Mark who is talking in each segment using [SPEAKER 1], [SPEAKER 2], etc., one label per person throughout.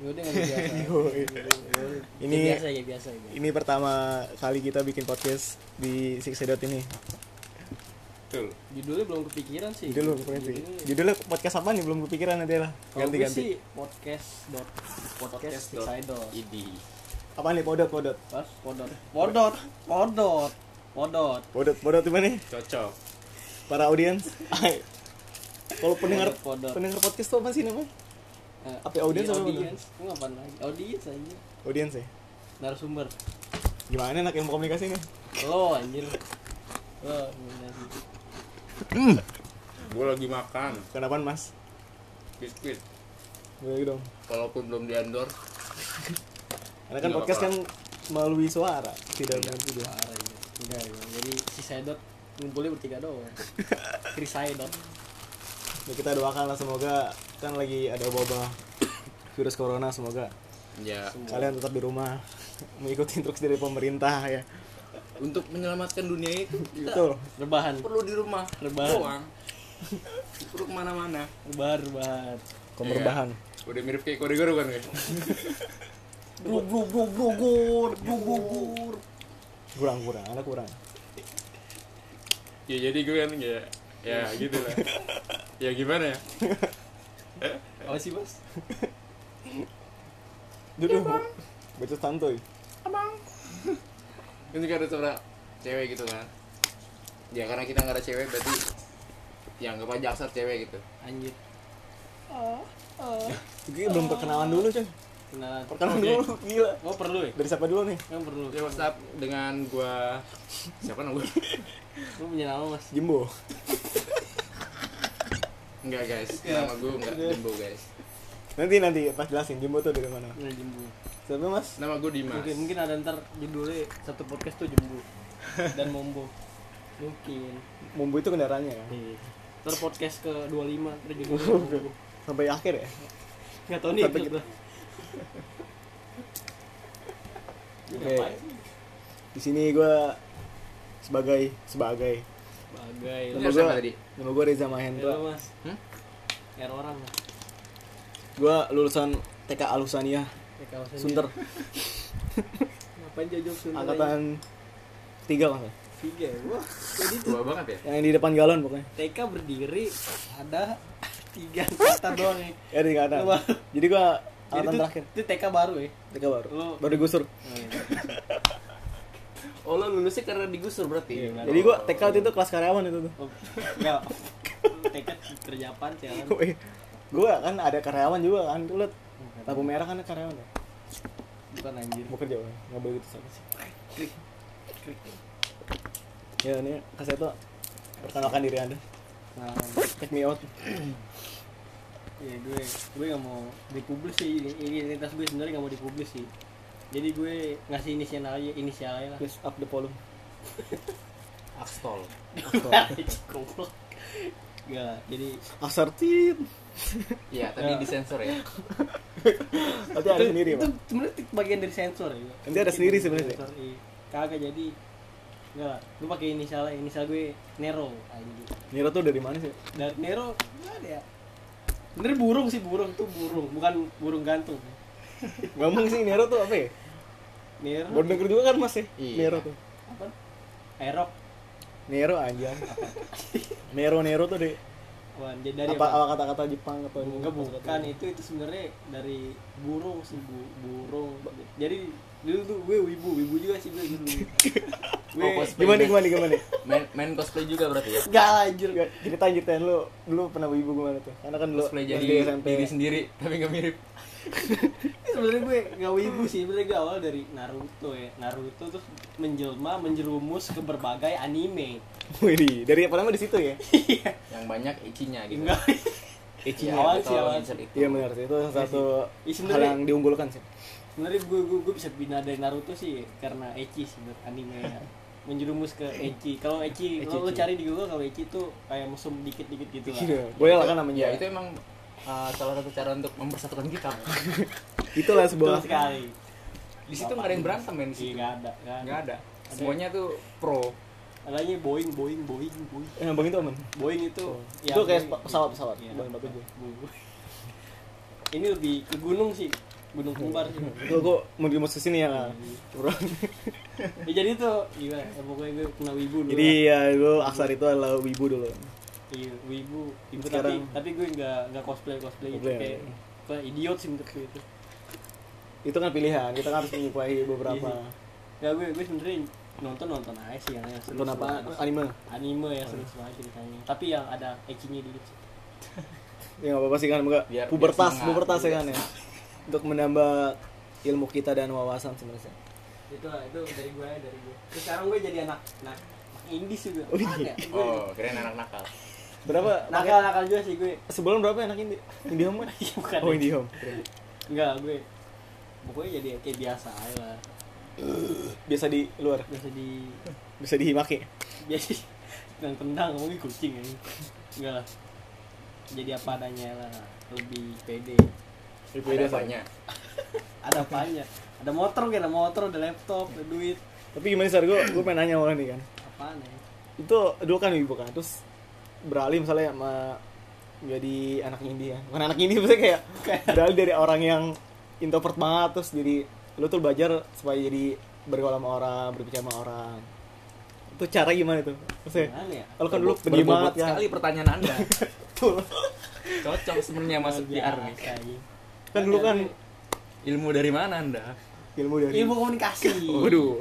[SPEAKER 1] Yaudah nggak biasa.
[SPEAKER 2] Yoi.
[SPEAKER 1] Ini
[SPEAKER 2] Ini-
[SPEAKER 1] biasa ya biasa ya.
[SPEAKER 2] Ini pertama kali kita bikin podcast di Sixedot ini.
[SPEAKER 3] Betul.
[SPEAKER 1] Judulnya belum kepikiran sih.
[SPEAKER 2] Judul belum kepikiran.
[SPEAKER 1] Judulnya-
[SPEAKER 2] Judulnya podcast apa nih belum kepikiran nanti lah.
[SPEAKER 1] Kalau gue
[SPEAKER 2] Ganti-ganti.
[SPEAKER 1] sih podcast dot podcast
[SPEAKER 3] dot
[SPEAKER 1] idol.
[SPEAKER 3] ID.
[SPEAKER 2] Apa nih podot podot?
[SPEAKER 1] Pas podot. Podot, podot, podot.
[SPEAKER 2] Podot podot gimana nih?
[SPEAKER 3] Cocok.
[SPEAKER 2] Para audiens. Ay. Kalau pendengar
[SPEAKER 1] Podot, podot.
[SPEAKER 2] pendengar podcast tuh apa sih namanya?
[SPEAKER 1] Eh,
[SPEAKER 2] Apa, audience
[SPEAKER 1] iya,
[SPEAKER 2] apa bener?
[SPEAKER 1] audience? Gue ngapain lagi? Audience aja.
[SPEAKER 2] Audiens ya.
[SPEAKER 1] Narasumber.
[SPEAKER 2] Gimana anak ilmu komunikasi nih?
[SPEAKER 1] Lo anjir. Lo komunikasi.
[SPEAKER 3] Gue lagi makan
[SPEAKER 2] Kenapa Mas?
[SPEAKER 3] biskuit.
[SPEAKER 2] Boleh dong.
[SPEAKER 3] Walaupun belum di endorse.
[SPEAKER 2] Karena kan
[SPEAKER 3] Nggak
[SPEAKER 2] podcast kan
[SPEAKER 3] apa-apa.
[SPEAKER 2] melalui suara,
[SPEAKER 1] Iya.
[SPEAKER 2] tidak dengan video.
[SPEAKER 1] Parah ini. Enggak, ya. Jadi si Sedot ngumpulnya bertiga doang. Chris Sedot.
[SPEAKER 2] Ya, kita doakanlah semoga kan lagi ada wabah virus corona semoga
[SPEAKER 3] Ya.
[SPEAKER 2] kalian tetap di rumah mengikuti instruksi dari pemerintah ya.
[SPEAKER 3] Untuk menyelamatkan dunia itu kita
[SPEAKER 2] Betul.
[SPEAKER 1] Rebahan,
[SPEAKER 3] perlu di rumah.
[SPEAKER 1] Rebahan.
[SPEAKER 3] Doang. Perlu kemana-mana.
[SPEAKER 1] rebahan, rebahan.
[SPEAKER 2] Komerbahan.
[SPEAKER 3] Udah mirip kayak kode guru kan guys.
[SPEAKER 1] Glug glug glug glug glug glug glug, glug.
[SPEAKER 2] Kurang kurang, ada kurang.
[SPEAKER 3] Ya jadi gue kan ya ya gitu lah. Ya gimana ya?
[SPEAKER 1] Apa sih, Mas?
[SPEAKER 2] Duduk. Baca santuy.
[SPEAKER 3] Kan juga ada suara cewek gitu kan. Ya karena kita nggak ada cewek berarti yang nggak pajak asal cewek gitu.
[SPEAKER 1] Anjir.
[SPEAKER 2] Gue belum perkenalan dulu, cuy.
[SPEAKER 1] Kenalan.
[SPEAKER 2] Perkenalan
[SPEAKER 3] Oke.
[SPEAKER 2] dulu, gila.
[SPEAKER 1] Oh, perlu ya?
[SPEAKER 2] Dari siapa dulu nih?
[SPEAKER 1] Emang perlu.
[SPEAKER 3] Oke, what's up dengan gua siapa nama gua?
[SPEAKER 1] Lu punya nama, Mas?
[SPEAKER 2] Jimbo.
[SPEAKER 3] Enggak guys,
[SPEAKER 1] Ya.
[SPEAKER 3] nama gue enggak Dimbo guys.
[SPEAKER 2] Nanti nanti pas jelasin Jimbo tuh dari mana.
[SPEAKER 1] Nah, jembu.
[SPEAKER 2] Siapa Mas?
[SPEAKER 3] Nama gue Dimas.
[SPEAKER 1] Mungkin, mungkin ada ntar judulnya satu podcast tuh jembu dan mombo. Mungkin.
[SPEAKER 2] Mumbu itu kendaraannya ya.
[SPEAKER 1] Nih. Ntar podcast ke 25 ntar judulnya Iya. mombo.
[SPEAKER 2] Sampai akhir ya.
[SPEAKER 1] Enggak tahu nih
[SPEAKER 2] Tapi-
[SPEAKER 1] episode berapa.
[SPEAKER 2] Oke.
[SPEAKER 1] Ngapain sih?
[SPEAKER 2] Di sini gua sebagai sebagai
[SPEAKER 1] Bagai lu.
[SPEAKER 3] Lu
[SPEAKER 2] Nama
[SPEAKER 3] harus
[SPEAKER 2] gua
[SPEAKER 3] apa tadi?
[SPEAKER 2] nama gua Reza
[SPEAKER 1] Error,
[SPEAKER 2] Mahendra.
[SPEAKER 1] Mas.
[SPEAKER 3] Hmm?
[SPEAKER 1] Error orang.
[SPEAKER 2] Gua lulusan TK Alusania
[SPEAKER 1] Ya, kalau saya-
[SPEAKER 2] Sunter
[SPEAKER 1] Ngapain jauh-jauh Sunter? aja?
[SPEAKER 2] angkatan tiga mas
[SPEAKER 1] tiga. ya? Wah, jadi tuh
[SPEAKER 3] Tua banget ya?
[SPEAKER 2] yang di depan galon pokoknya
[SPEAKER 1] TK berdiri ada tiga kata doang ya.
[SPEAKER 2] ya di angkatan
[SPEAKER 1] Wah.
[SPEAKER 2] jadi gua
[SPEAKER 1] Jadi
[SPEAKER 2] angkatan
[SPEAKER 1] itu,
[SPEAKER 2] terakhir
[SPEAKER 1] itu TK baru ya.
[SPEAKER 2] TK baru
[SPEAKER 1] Lu- iya.
[SPEAKER 2] baru digusur
[SPEAKER 3] Oh lo lulusnya karena digusur berarti?
[SPEAKER 1] Iya,
[SPEAKER 2] Jadi gua TK waktu itu kelas karyawan itu tuh.
[SPEAKER 1] Oh, enggak. TK kerja apaan sih? Alan?
[SPEAKER 2] Wih, gua kan ada karyawan juga kan tuh liat. Lampu merah kan ada karyawan ya.
[SPEAKER 1] Bukan anjir.
[SPEAKER 2] Mau kerja gua, nggak boleh gitu sama sih.
[SPEAKER 1] Krik, krik.
[SPEAKER 2] Ya ini kasih tuh perkenalkan diri anda.
[SPEAKER 1] Nah,
[SPEAKER 2] Take me out.
[SPEAKER 1] ya gue gue nggak mau dipublis sih ini ini identitas gue sebenarnya nggak mau dipublis sih jadi gue ngasih inisial aja inisial aja lah
[SPEAKER 2] Please up the volume.
[SPEAKER 3] Akstol.
[SPEAKER 1] Goblok. Enggak lah, jadi
[SPEAKER 2] Asertif.
[SPEAKER 3] Iya tadi
[SPEAKER 1] Ya.
[SPEAKER 3] disensor ya.
[SPEAKER 2] Nanti ada
[SPEAKER 1] Itu-
[SPEAKER 2] sendiri
[SPEAKER 1] itu
[SPEAKER 2] pak.
[SPEAKER 1] sebenarnya tik- bagian dari sensor ya
[SPEAKER 2] Nanti ada
[SPEAKER 1] Mungkin
[SPEAKER 2] sendiri
[SPEAKER 1] bagian dari
[SPEAKER 2] sebenarnya.
[SPEAKER 1] sensor, iya. kagak jadi enggak lah lu pakai inisial aja. inisial gue Nero anjir
[SPEAKER 2] Nira tuh dari mana sih?
[SPEAKER 1] dan Nero enggak ada ya bener burung sih burung tuh burung bukan burung gantung
[SPEAKER 2] Ngomong sih Nero tuh apa ya?
[SPEAKER 1] Nero
[SPEAKER 2] Baru denger juga kan mas ya?
[SPEAKER 3] Iya.
[SPEAKER 2] Nero tuh.
[SPEAKER 1] apa Aerok
[SPEAKER 2] Nero aja. Nero Nero tuh deh.
[SPEAKER 1] Wan, jadi dari
[SPEAKER 2] Apa apa kata-kata Jepang atau
[SPEAKER 1] Iya, Enggak bukan itu itu sebenarnya dari burung sih bu, burung. Jadi dulu tuh gue wibu wibu juga sih gue dulu. gue
[SPEAKER 3] Oh, cosplay.
[SPEAKER 2] Gimana gimana gimana?
[SPEAKER 3] Main, main cosplay juga berarti ya?
[SPEAKER 1] enggak lah, anjir.
[SPEAKER 2] Nggak, ceritain ceritain lu dulu pernah wibu gimana tuh karena kan lu
[SPEAKER 3] Cosplay jadi
[SPEAKER 2] SD, SMP
[SPEAKER 3] diri sendiri tapi nggak mirip.
[SPEAKER 1] Sebenarnya gue enggak wibu sih, sebenarnya gue awal dari Naruto ya. Naruto terus menjelma menjerumus ke berbagai anime.
[SPEAKER 2] Wih, dari pertama di situ ya
[SPEAKER 3] Yang banyak icinya gitu.
[SPEAKER 1] Enggak.
[SPEAKER 3] Icinya
[SPEAKER 1] Awal sih,
[SPEAKER 3] atau
[SPEAKER 1] awal.
[SPEAKER 3] insert itu.
[SPEAKER 2] iya benar sih itu salah satu
[SPEAKER 1] Iya,
[SPEAKER 2] hal
[SPEAKER 1] sebenarnya-
[SPEAKER 2] yang diunggulkan sih
[SPEAKER 1] Sebenarnya gue, gue gue bisa pindah dari Naruto sih ya, karena ecchi sih menurut anime ya. menjerumus ke ecchi. Kalau ecchi, kalau lo
[SPEAKER 2] Ecchi-ecchi.
[SPEAKER 1] cari di Google kalau ecchi tuh kayak mesum dikit-dikit gitu lah.
[SPEAKER 2] Gila, boleh lah kan namanya
[SPEAKER 3] Ya itu emang uh, salah satu cara untuk mempersatukan kita.
[SPEAKER 2] itulah
[SPEAKER 1] Betul
[SPEAKER 2] sebuah
[SPEAKER 1] sekali.
[SPEAKER 3] Di situ nggak ada yang berantem men di
[SPEAKER 1] Iya,
[SPEAKER 3] situ.
[SPEAKER 1] nggak ada, nggak ada.
[SPEAKER 3] Nggak ada. Semuanya tuh pro.
[SPEAKER 1] Adanya Boeing, Boeing, Boeing, Boeing.
[SPEAKER 2] yang bang Eh, itu aman
[SPEAKER 1] Boeing itu
[SPEAKER 2] Itu kayak
[SPEAKER 1] Boeing.
[SPEAKER 2] pesawat- pesawat,
[SPEAKER 1] Iya.
[SPEAKER 2] Boeing bagus juga.
[SPEAKER 1] Boeing. Ini lebih ke gunung sih. gunung kembar sih Nah,
[SPEAKER 2] Lo kok mau dimus ke sini ya?
[SPEAKER 1] Iya.
[SPEAKER 2] Kak? Bro.
[SPEAKER 1] ya jadi itu gimana ya, pokoknya gue kena wibu dulu
[SPEAKER 2] Iya. Jadi ya gue Aksar itu adalah wibu dulu.
[SPEAKER 1] iya wibu wibu
[SPEAKER 2] Sekarang-
[SPEAKER 1] tapi tapi gue nggak nggak cosplay cosplay gitu
[SPEAKER 2] Cosplay,
[SPEAKER 1] kayak
[SPEAKER 2] iya.
[SPEAKER 1] apa, idiot sih menurut gue itu
[SPEAKER 2] Itu kan pilihan, kita kan harus menyukai beberapa.
[SPEAKER 1] Iya nggak gue gue sebenernya nonton nonton aja sih yang yang seru
[SPEAKER 2] Nonton apa? Anime.
[SPEAKER 1] anime ya seru seru aja ceritanya tapi yang ada ecinya dikit sih.
[SPEAKER 2] Ya nggak apa-apa sih kan, enggak
[SPEAKER 3] Biar- biar
[SPEAKER 2] pubertas,
[SPEAKER 3] semangat.
[SPEAKER 2] pubertas ya kan ya. Untuk menambah ilmu kita dan wawasan sebenarnya.
[SPEAKER 1] itu itu dari gue dari gue terus sekarang gue jadi anak anak anak indie sih gue
[SPEAKER 2] Wih.
[SPEAKER 1] Apaan ya? Gue
[SPEAKER 3] Oh, keren anak nakal.
[SPEAKER 2] Berapa?
[SPEAKER 1] nakal nakal juga sih gue Iya,
[SPEAKER 2] Sebelum ya? berapa enak ini? Indihome kan?
[SPEAKER 1] bukan ya.
[SPEAKER 2] Oh Indihome.
[SPEAKER 1] enggak gue pokoknya jadi kayak biasa aja lah
[SPEAKER 2] Biasa di luar,
[SPEAKER 1] biasa di
[SPEAKER 2] bisa dimaki.
[SPEAKER 1] biasa yang tendang ngomongin kucing ya enggak lah jadi apa adanya lah lebih pede
[SPEAKER 3] Ada banyak.
[SPEAKER 1] ada apanya ada motor gak ada motor ada laptop ada duit
[SPEAKER 2] Tapi gimana sih gue gue pengen nanya orang nih kan.
[SPEAKER 1] apaan ya
[SPEAKER 2] Itu dulu kan ibu kan, terus beralih misalnya sama jadi anak indie ya. Bukan anak indie maksudnya kayak beralih dari orang yang introvert banget terus jadi lu tuh belajar supaya jadi bergaul sama orang, berbicara sama orang. Itu cara gimana tuh? Maksudnya,
[SPEAKER 1] gimana ya
[SPEAKER 2] lu kan dulu
[SPEAKER 3] Berbobot
[SPEAKER 2] pendiam banget kan.
[SPEAKER 3] sekali pertanyaan Anda.
[SPEAKER 2] Betul. Iya.
[SPEAKER 3] Cocok sebenarnya masuk PR nih.
[SPEAKER 1] Biasa aja.
[SPEAKER 2] Kan dulu kan
[SPEAKER 3] Ilmu dari mana Anda?
[SPEAKER 2] ilmu dari
[SPEAKER 1] ilmu iya. komunikasi
[SPEAKER 2] Iya. Waduh.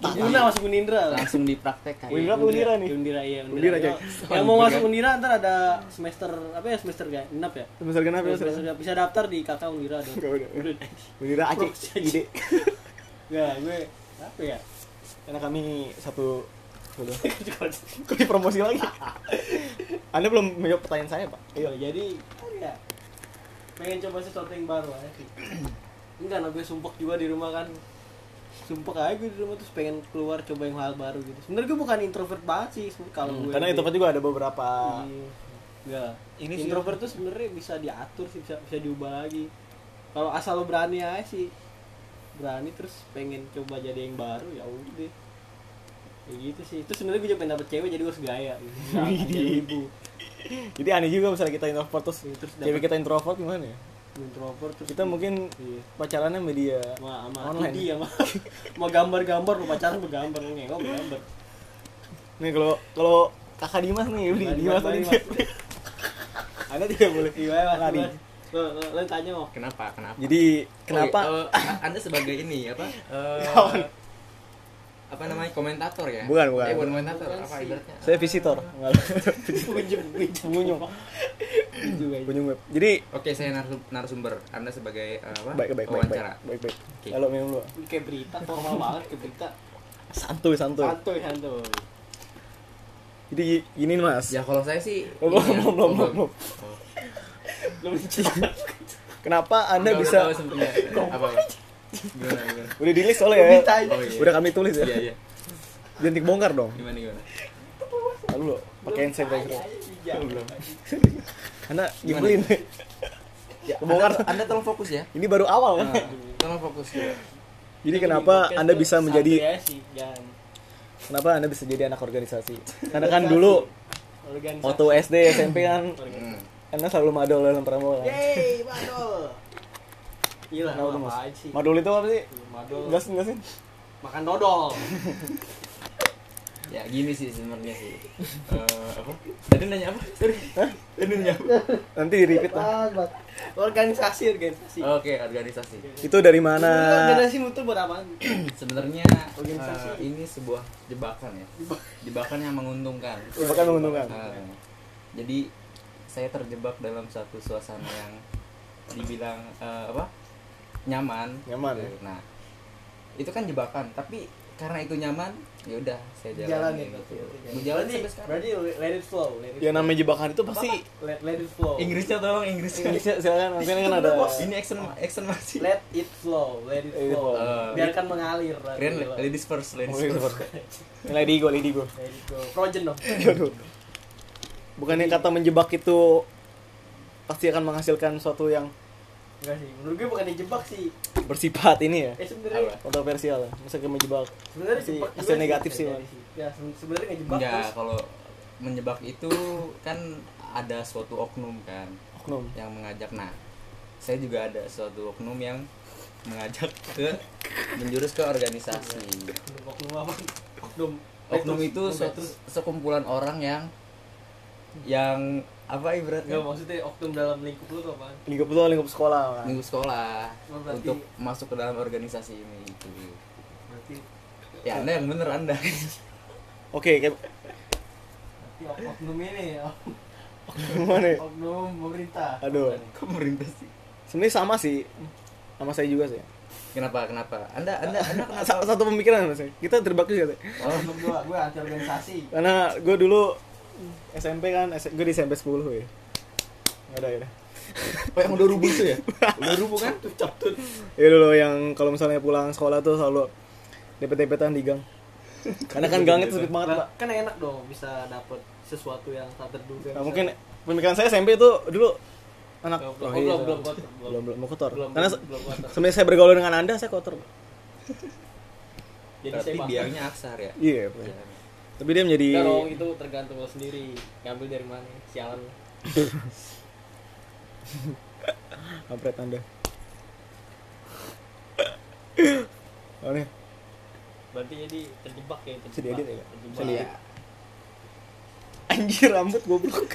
[SPEAKER 1] Guna masuk Unindra lah.
[SPEAKER 3] Langsung dipraktekkan.
[SPEAKER 2] Windra apa Unira nih?
[SPEAKER 1] Undira iya Undira.
[SPEAKER 2] Undira, Jack.
[SPEAKER 1] Yang mau masuk Undira ntar ada semester apa ya semester gak? Enap ya?
[SPEAKER 2] Semester kenapa ya?
[SPEAKER 1] Semester genap. bisa daftar di kakak Undira dong.
[SPEAKER 2] Enggak, udah. Unira aja ide.
[SPEAKER 1] Enggak, gue apa ya?
[SPEAKER 2] Karena kami satu Udah. Kok dipromosi lagi? Anda belum menjawab pertanyaan saya, Pak.
[SPEAKER 1] Iya, jadi kan ya pengen coba sesuatu yang baru aja sih. Enggak, nah gue sumpek juga di rumah kan. Sumpek aja gue di rumah terus pengen keluar coba yang hal baru gitu. Sebenarnya gue bukan introvert banget sih sebenarnya kalau
[SPEAKER 3] Iya,
[SPEAKER 1] gue.
[SPEAKER 2] Karena introvert juga ada beberapa
[SPEAKER 1] Enggak.
[SPEAKER 3] Ini
[SPEAKER 1] Ini
[SPEAKER 3] sih-
[SPEAKER 1] Iya. introvert tuh sebenarnya bisa diatur sih, bisa, bisa diubah lagi. Kalau asal lo berani aja sih. Berani terus pengen coba jadi yang baru ya udah. Ya gitu sih. Terus sebenarnya gue juga pengen dapet cewek jadi gue harus gaya gitu. Nah, jadi ibu.
[SPEAKER 2] Jadi aneh juga misalnya kita introvert terus
[SPEAKER 1] Iya, terus
[SPEAKER 2] cewek
[SPEAKER 1] dapat-
[SPEAKER 2] kita introvert gimana ya?
[SPEAKER 1] Introvert terus
[SPEAKER 2] Kita mungkin
[SPEAKER 1] Iya.
[SPEAKER 2] pacarannya sama dia.
[SPEAKER 1] sama sama
[SPEAKER 2] Online.
[SPEAKER 1] Kidi sama sama gambar-gambar lu pacaran bergambar lu ngengok gambar.
[SPEAKER 2] Nih kalau kalau Kakak Dimas nih, Budi, Dimas tadi. Anda tidak boleh
[SPEAKER 1] Iya, Mas.
[SPEAKER 2] lari.
[SPEAKER 1] Mas. Lo, lo, lo tanya mau.
[SPEAKER 3] Kenapa? Kenapa?
[SPEAKER 2] Jadi kenapa
[SPEAKER 3] Oh, iya, eh, Anda sebagai ini apa? Eh, apa namanya komentator ya?
[SPEAKER 2] Bukan, bukan.
[SPEAKER 3] Eh, bukan komentator. Apa ibaratnya? Eh,
[SPEAKER 2] saya visitor? Enggak.
[SPEAKER 1] Pinjem, pinjem.
[SPEAKER 2] Pengunjung.
[SPEAKER 1] Juga ya.
[SPEAKER 2] Pengunjung web. Jadi
[SPEAKER 3] Oke, saya narsum- narasumber. Anda sebagai eh, apa?
[SPEAKER 2] baik baik baik baik
[SPEAKER 3] wawancara.
[SPEAKER 2] baik baik.
[SPEAKER 3] Oke.
[SPEAKER 2] Kalau minum lu
[SPEAKER 1] Kayak berita formal banget kayak berita.
[SPEAKER 2] santuy santuy.
[SPEAKER 1] Santuy, santuy.
[SPEAKER 2] Jadi gini nih, Mas.
[SPEAKER 3] Ya kalau saya sih
[SPEAKER 2] Oh, belum,
[SPEAKER 3] ini
[SPEAKER 2] belum,
[SPEAKER 3] ya.
[SPEAKER 2] belum,
[SPEAKER 3] Oh,
[SPEAKER 2] belum, belum.
[SPEAKER 3] Oh.
[SPEAKER 1] Lo menjelaskan.
[SPEAKER 2] Kenapa Anda
[SPEAKER 3] Udah,
[SPEAKER 2] bisa
[SPEAKER 3] udah tahu sebenarnya. apa? Gimana gimana?
[SPEAKER 2] udah di list soalnya ya.
[SPEAKER 1] Ditanya.
[SPEAKER 3] Oh, iya.
[SPEAKER 2] Udah kami tulis ya.
[SPEAKER 3] Iya, iya.
[SPEAKER 2] Jangan dibongkar dong.
[SPEAKER 3] Gimana gimana?
[SPEAKER 2] Lalu lo pakai handset
[SPEAKER 1] Tanya
[SPEAKER 2] kira
[SPEAKER 1] aja sih, jangan.
[SPEAKER 2] Karena
[SPEAKER 3] Gimana?
[SPEAKER 2] nyebelin.
[SPEAKER 3] Ya,
[SPEAKER 2] Kebongkar.
[SPEAKER 3] Anda, anda tolong fokus ya.
[SPEAKER 2] Ini baru awal.
[SPEAKER 3] Nah, tolong fokus ya. dulu.
[SPEAKER 2] Jadi
[SPEAKER 1] Ini
[SPEAKER 2] kenapa
[SPEAKER 1] podcast
[SPEAKER 2] Anda
[SPEAKER 1] tuh
[SPEAKER 2] bisa menjadi
[SPEAKER 1] santuy aja sih, jangan.
[SPEAKER 2] kenapa Anda bisa jadi anak organisasi? ya. Karena kan dulu
[SPEAKER 1] Organisasi.
[SPEAKER 2] waktu SD, SMP kan
[SPEAKER 1] Organisasi.
[SPEAKER 3] Hmm.
[SPEAKER 2] Anda selalu madol dalam pramuka kan.
[SPEAKER 1] Yeay, madol. Gila,
[SPEAKER 2] Kenapa tuh,
[SPEAKER 1] apa
[SPEAKER 2] Mas?
[SPEAKER 1] aja sih?
[SPEAKER 2] Madol itu apa sih?
[SPEAKER 1] Madol.
[SPEAKER 2] Gas enggak sih?
[SPEAKER 1] Makan dodol.
[SPEAKER 3] Ya gini sih sebenarnya sih. Eh, apa? Tadi nanya apa? Sorry. Tadi nanya apa?
[SPEAKER 2] Nanti di repeat lah.
[SPEAKER 1] Organisasi, organisasi.
[SPEAKER 2] Oh.
[SPEAKER 3] Oke, organisasi.
[SPEAKER 2] Itu dari mana?
[SPEAKER 1] Sebenarnya Organisasi mutu buat apa?
[SPEAKER 3] Sebenarnya
[SPEAKER 1] Organisasi.
[SPEAKER 3] eh, ini sebuah jebakan ya. Jebakan yang menguntungkan.
[SPEAKER 2] Bukan menguntungkan.
[SPEAKER 3] Eh, jadi saya terjebak dalam suatu suasana yang dibilang eh, apa? Nyaman.
[SPEAKER 2] Nyaman,
[SPEAKER 3] Gitu.
[SPEAKER 2] ya.
[SPEAKER 3] Nah, itu kan jebakan, tapi karena itu nyaman, ya udah saya
[SPEAKER 1] Jalan
[SPEAKER 3] jalani
[SPEAKER 1] ya.
[SPEAKER 3] gitu.
[SPEAKER 1] Berarti-
[SPEAKER 3] Mau jalan sampai sekarang.
[SPEAKER 1] Berarti let it flow. Let it
[SPEAKER 2] Ya namanya jebakan itu pasti
[SPEAKER 1] Apa? let, let it flow.
[SPEAKER 3] Inggrisnya tolong Inggrisnya.
[SPEAKER 2] Indonesia silakan nanti kan ada
[SPEAKER 3] Ini action action masih.
[SPEAKER 1] Let it flow, let it
[SPEAKER 2] Let it
[SPEAKER 1] flow.
[SPEAKER 3] flow.
[SPEAKER 1] Biarkan mengalir. lah.
[SPEAKER 3] Keren
[SPEAKER 1] Gila.
[SPEAKER 3] ladies first, ladies
[SPEAKER 2] Oh, iya,
[SPEAKER 3] first.
[SPEAKER 2] Nilai di gua, lady gua.
[SPEAKER 1] Let it flow. Projen dong.
[SPEAKER 2] Aduh. Bukannya kata menjebak itu pasti akan menghasilkan suatu yang
[SPEAKER 1] Enggak sih. Menurut gue bukan dijebak sih.
[SPEAKER 2] bersifat ini ya
[SPEAKER 1] Eh sebenarnya
[SPEAKER 3] Apa?
[SPEAKER 2] kontroversial ya masa kayak menjebak
[SPEAKER 1] sebenarnya
[SPEAKER 2] Masih-
[SPEAKER 1] jebak
[SPEAKER 2] masih
[SPEAKER 1] juga
[SPEAKER 2] negatif sih,
[SPEAKER 1] terjadi Ya se- sebenarnya ngejebak terus.
[SPEAKER 3] Enggak, kalau menjebak itu kan ada suatu oknum kan
[SPEAKER 2] oknum
[SPEAKER 3] yang mengajak nah saya juga ada suatu oknum yang mengajak ke menjurus ke organisasi
[SPEAKER 1] oknum apa oknum
[SPEAKER 3] oknum itu
[SPEAKER 1] Oknum
[SPEAKER 3] suatu
[SPEAKER 1] terus
[SPEAKER 3] sekumpulan orang yang yang apa
[SPEAKER 1] nggak
[SPEAKER 3] ibaratnya
[SPEAKER 1] maksudnya oknum dalam lingkup lu tuh apaan
[SPEAKER 2] lingkup lu lingkup sekolah kan?
[SPEAKER 1] Hmm.
[SPEAKER 3] minggu sekolah
[SPEAKER 1] Oh, berarti-
[SPEAKER 3] untuk masuk ke dalam organisasi ini gitu.
[SPEAKER 1] berarti
[SPEAKER 3] ya anda yang bener anda
[SPEAKER 2] oke kayak
[SPEAKER 1] berarti ok- oknum ini
[SPEAKER 2] Eh.
[SPEAKER 1] ya
[SPEAKER 2] mana ya?
[SPEAKER 1] oknum pemerintah
[SPEAKER 2] Aduh.
[SPEAKER 3] kok merintah sih
[SPEAKER 2] sebenarnya sama sih sama saya juga sih
[SPEAKER 3] kenapa kenapa anda anda anda kenapa
[SPEAKER 2] Sa- satu pemikiran sama saya kita terbakar juga sih
[SPEAKER 3] oh,
[SPEAKER 1] oknum dua gue anti organisasi
[SPEAKER 2] karena gue dulu SMP kan S- gue di SMP 10 ya nggak ada ya udah.
[SPEAKER 3] oh, yang udah rubuh tuh ya udah rubuh kan
[SPEAKER 1] captun
[SPEAKER 2] ya dulu yang kalau misalnya pulang sekolah tuh selalu dempet-dempetan di gang karena kan gang itu sempit banget pak
[SPEAKER 1] kan enak dong bisa dapet sesuatu yang tak terduga
[SPEAKER 2] Nah, mungkin pemikiran saya SMP itu dulu anak
[SPEAKER 1] Belum,
[SPEAKER 2] oh,
[SPEAKER 1] belum,
[SPEAKER 2] iya,
[SPEAKER 1] belum, belum,
[SPEAKER 2] belum,
[SPEAKER 1] belum.
[SPEAKER 2] belum, belum kotor.
[SPEAKER 1] Belum,
[SPEAKER 2] Karena
[SPEAKER 1] belum, belum kotor.
[SPEAKER 2] sebenarnya saya bergaul dengan Anda saya kotor. Pak.
[SPEAKER 1] jadi
[SPEAKER 3] tapi
[SPEAKER 1] saya paham.
[SPEAKER 3] biangnya aksar ya
[SPEAKER 2] Iya, Pak.
[SPEAKER 3] Ya.
[SPEAKER 2] Tapi dia menjadi
[SPEAKER 1] Enggak dong, itu tergantung lo sendiri Ngambil dari mana, sialan lo.
[SPEAKER 2] kampret Anda. Oh nih,
[SPEAKER 1] Berarti jadi terjebak ya terjebak.
[SPEAKER 2] bisa diedit ya? Pak? Bisa
[SPEAKER 1] Terjebak.
[SPEAKER 2] diedit. Anjir rambut goblok.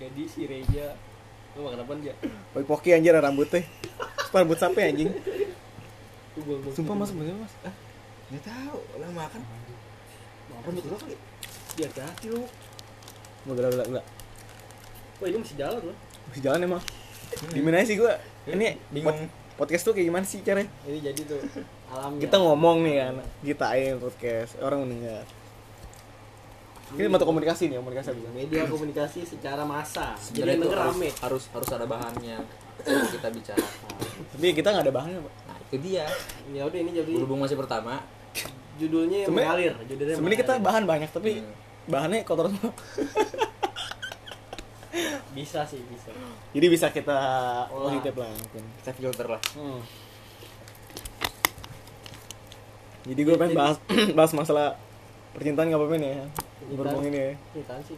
[SPEAKER 1] Jadi si Reja Lo makan apa aja?
[SPEAKER 2] Poi poki anjir rambutnya. Sumpah rambut sampai anjing.
[SPEAKER 1] Lu gua- gua-
[SPEAKER 2] Sumpah Mas, bener Mas.
[SPEAKER 3] nggak tahu lah makan makan juga kali
[SPEAKER 1] Ya hati lu
[SPEAKER 2] Mau gerak gerak gerak.
[SPEAKER 1] Wah ini masih jalan loh
[SPEAKER 2] Masih jalan ya, Iya, emang. Gimana Iya. sih gua? Ini
[SPEAKER 3] bingung
[SPEAKER 2] pod- podcast tuh kayak gimana sih caranya?
[SPEAKER 1] Ini jadi tuh Alamnya
[SPEAKER 2] Kita ngomong nih kan, kita aja podcast, orang mendengar. Ini mata komunikasi nih, komunikasi apa?
[SPEAKER 1] Media komunikasi secara massa Jadi
[SPEAKER 3] sebenarnya
[SPEAKER 1] yang
[SPEAKER 3] itu
[SPEAKER 1] denger
[SPEAKER 3] harus,
[SPEAKER 1] rame
[SPEAKER 3] harus harus ada bahannya yang kita bicarakan
[SPEAKER 2] Tapi kita nggak ada bahannya, Pak.
[SPEAKER 3] nah itu dia
[SPEAKER 1] Ya udah ini jadi
[SPEAKER 3] berhubung masih pertama
[SPEAKER 1] judulnya yang
[SPEAKER 2] Sebenarnya-
[SPEAKER 1] mengalir Judulnya
[SPEAKER 2] Sebenarnya kita
[SPEAKER 1] mengalir.
[SPEAKER 2] bahan banyak, tapi
[SPEAKER 3] Hmm.
[SPEAKER 2] bahannya kotor semua.
[SPEAKER 1] Bisa sih bisa
[SPEAKER 2] Jadi bisa kita
[SPEAKER 1] Olah.
[SPEAKER 2] edit lah mungkin.
[SPEAKER 3] kita filter lah
[SPEAKER 2] Hmm, Jadi gue pengen
[SPEAKER 1] Jadi-
[SPEAKER 2] bahas bahas masalah percintaan nggak apa-apa nih ya. Berhubung ini ya.
[SPEAKER 1] Ini kan sih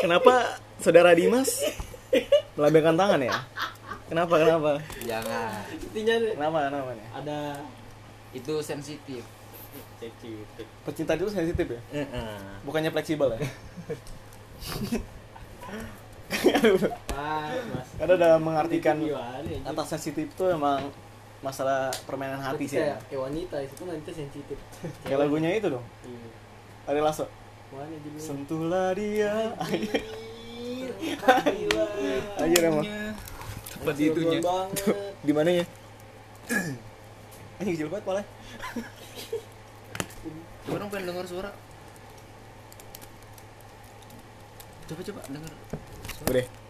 [SPEAKER 2] Kenapa saudara Dimas melambaikan tangan ya? Kenapa kenapa?
[SPEAKER 3] jangan
[SPEAKER 1] Intinya
[SPEAKER 2] Kenapa kenapa nih?
[SPEAKER 1] ada
[SPEAKER 3] itu sensitif
[SPEAKER 1] Ceci
[SPEAKER 2] Percintaan itu sensitif ya? Bukannya fleksibel ya?
[SPEAKER 1] Mas Mas
[SPEAKER 2] Karena dalam mengartikan
[SPEAKER 1] Itu gimana ya,
[SPEAKER 2] kata sensitif itu emang masalah permainan hati sih.
[SPEAKER 1] kayak,
[SPEAKER 2] Ya.
[SPEAKER 1] kayak wanita itu kan wanita sensitif
[SPEAKER 2] Kayak lagunya itu dong.
[SPEAKER 1] Iya.
[SPEAKER 2] Ari Lasso.
[SPEAKER 1] mana judulnya
[SPEAKER 2] Sentuhlah dia.
[SPEAKER 1] Gila.
[SPEAKER 3] Iya,
[SPEAKER 2] Anjir emang.
[SPEAKER 3] tepat
[SPEAKER 1] Gila banget.
[SPEAKER 2] Di mana ya? Anjing kecil banget malah.
[SPEAKER 3] coba dong pengen denger suara coba coba denger
[SPEAKER 2] Udah.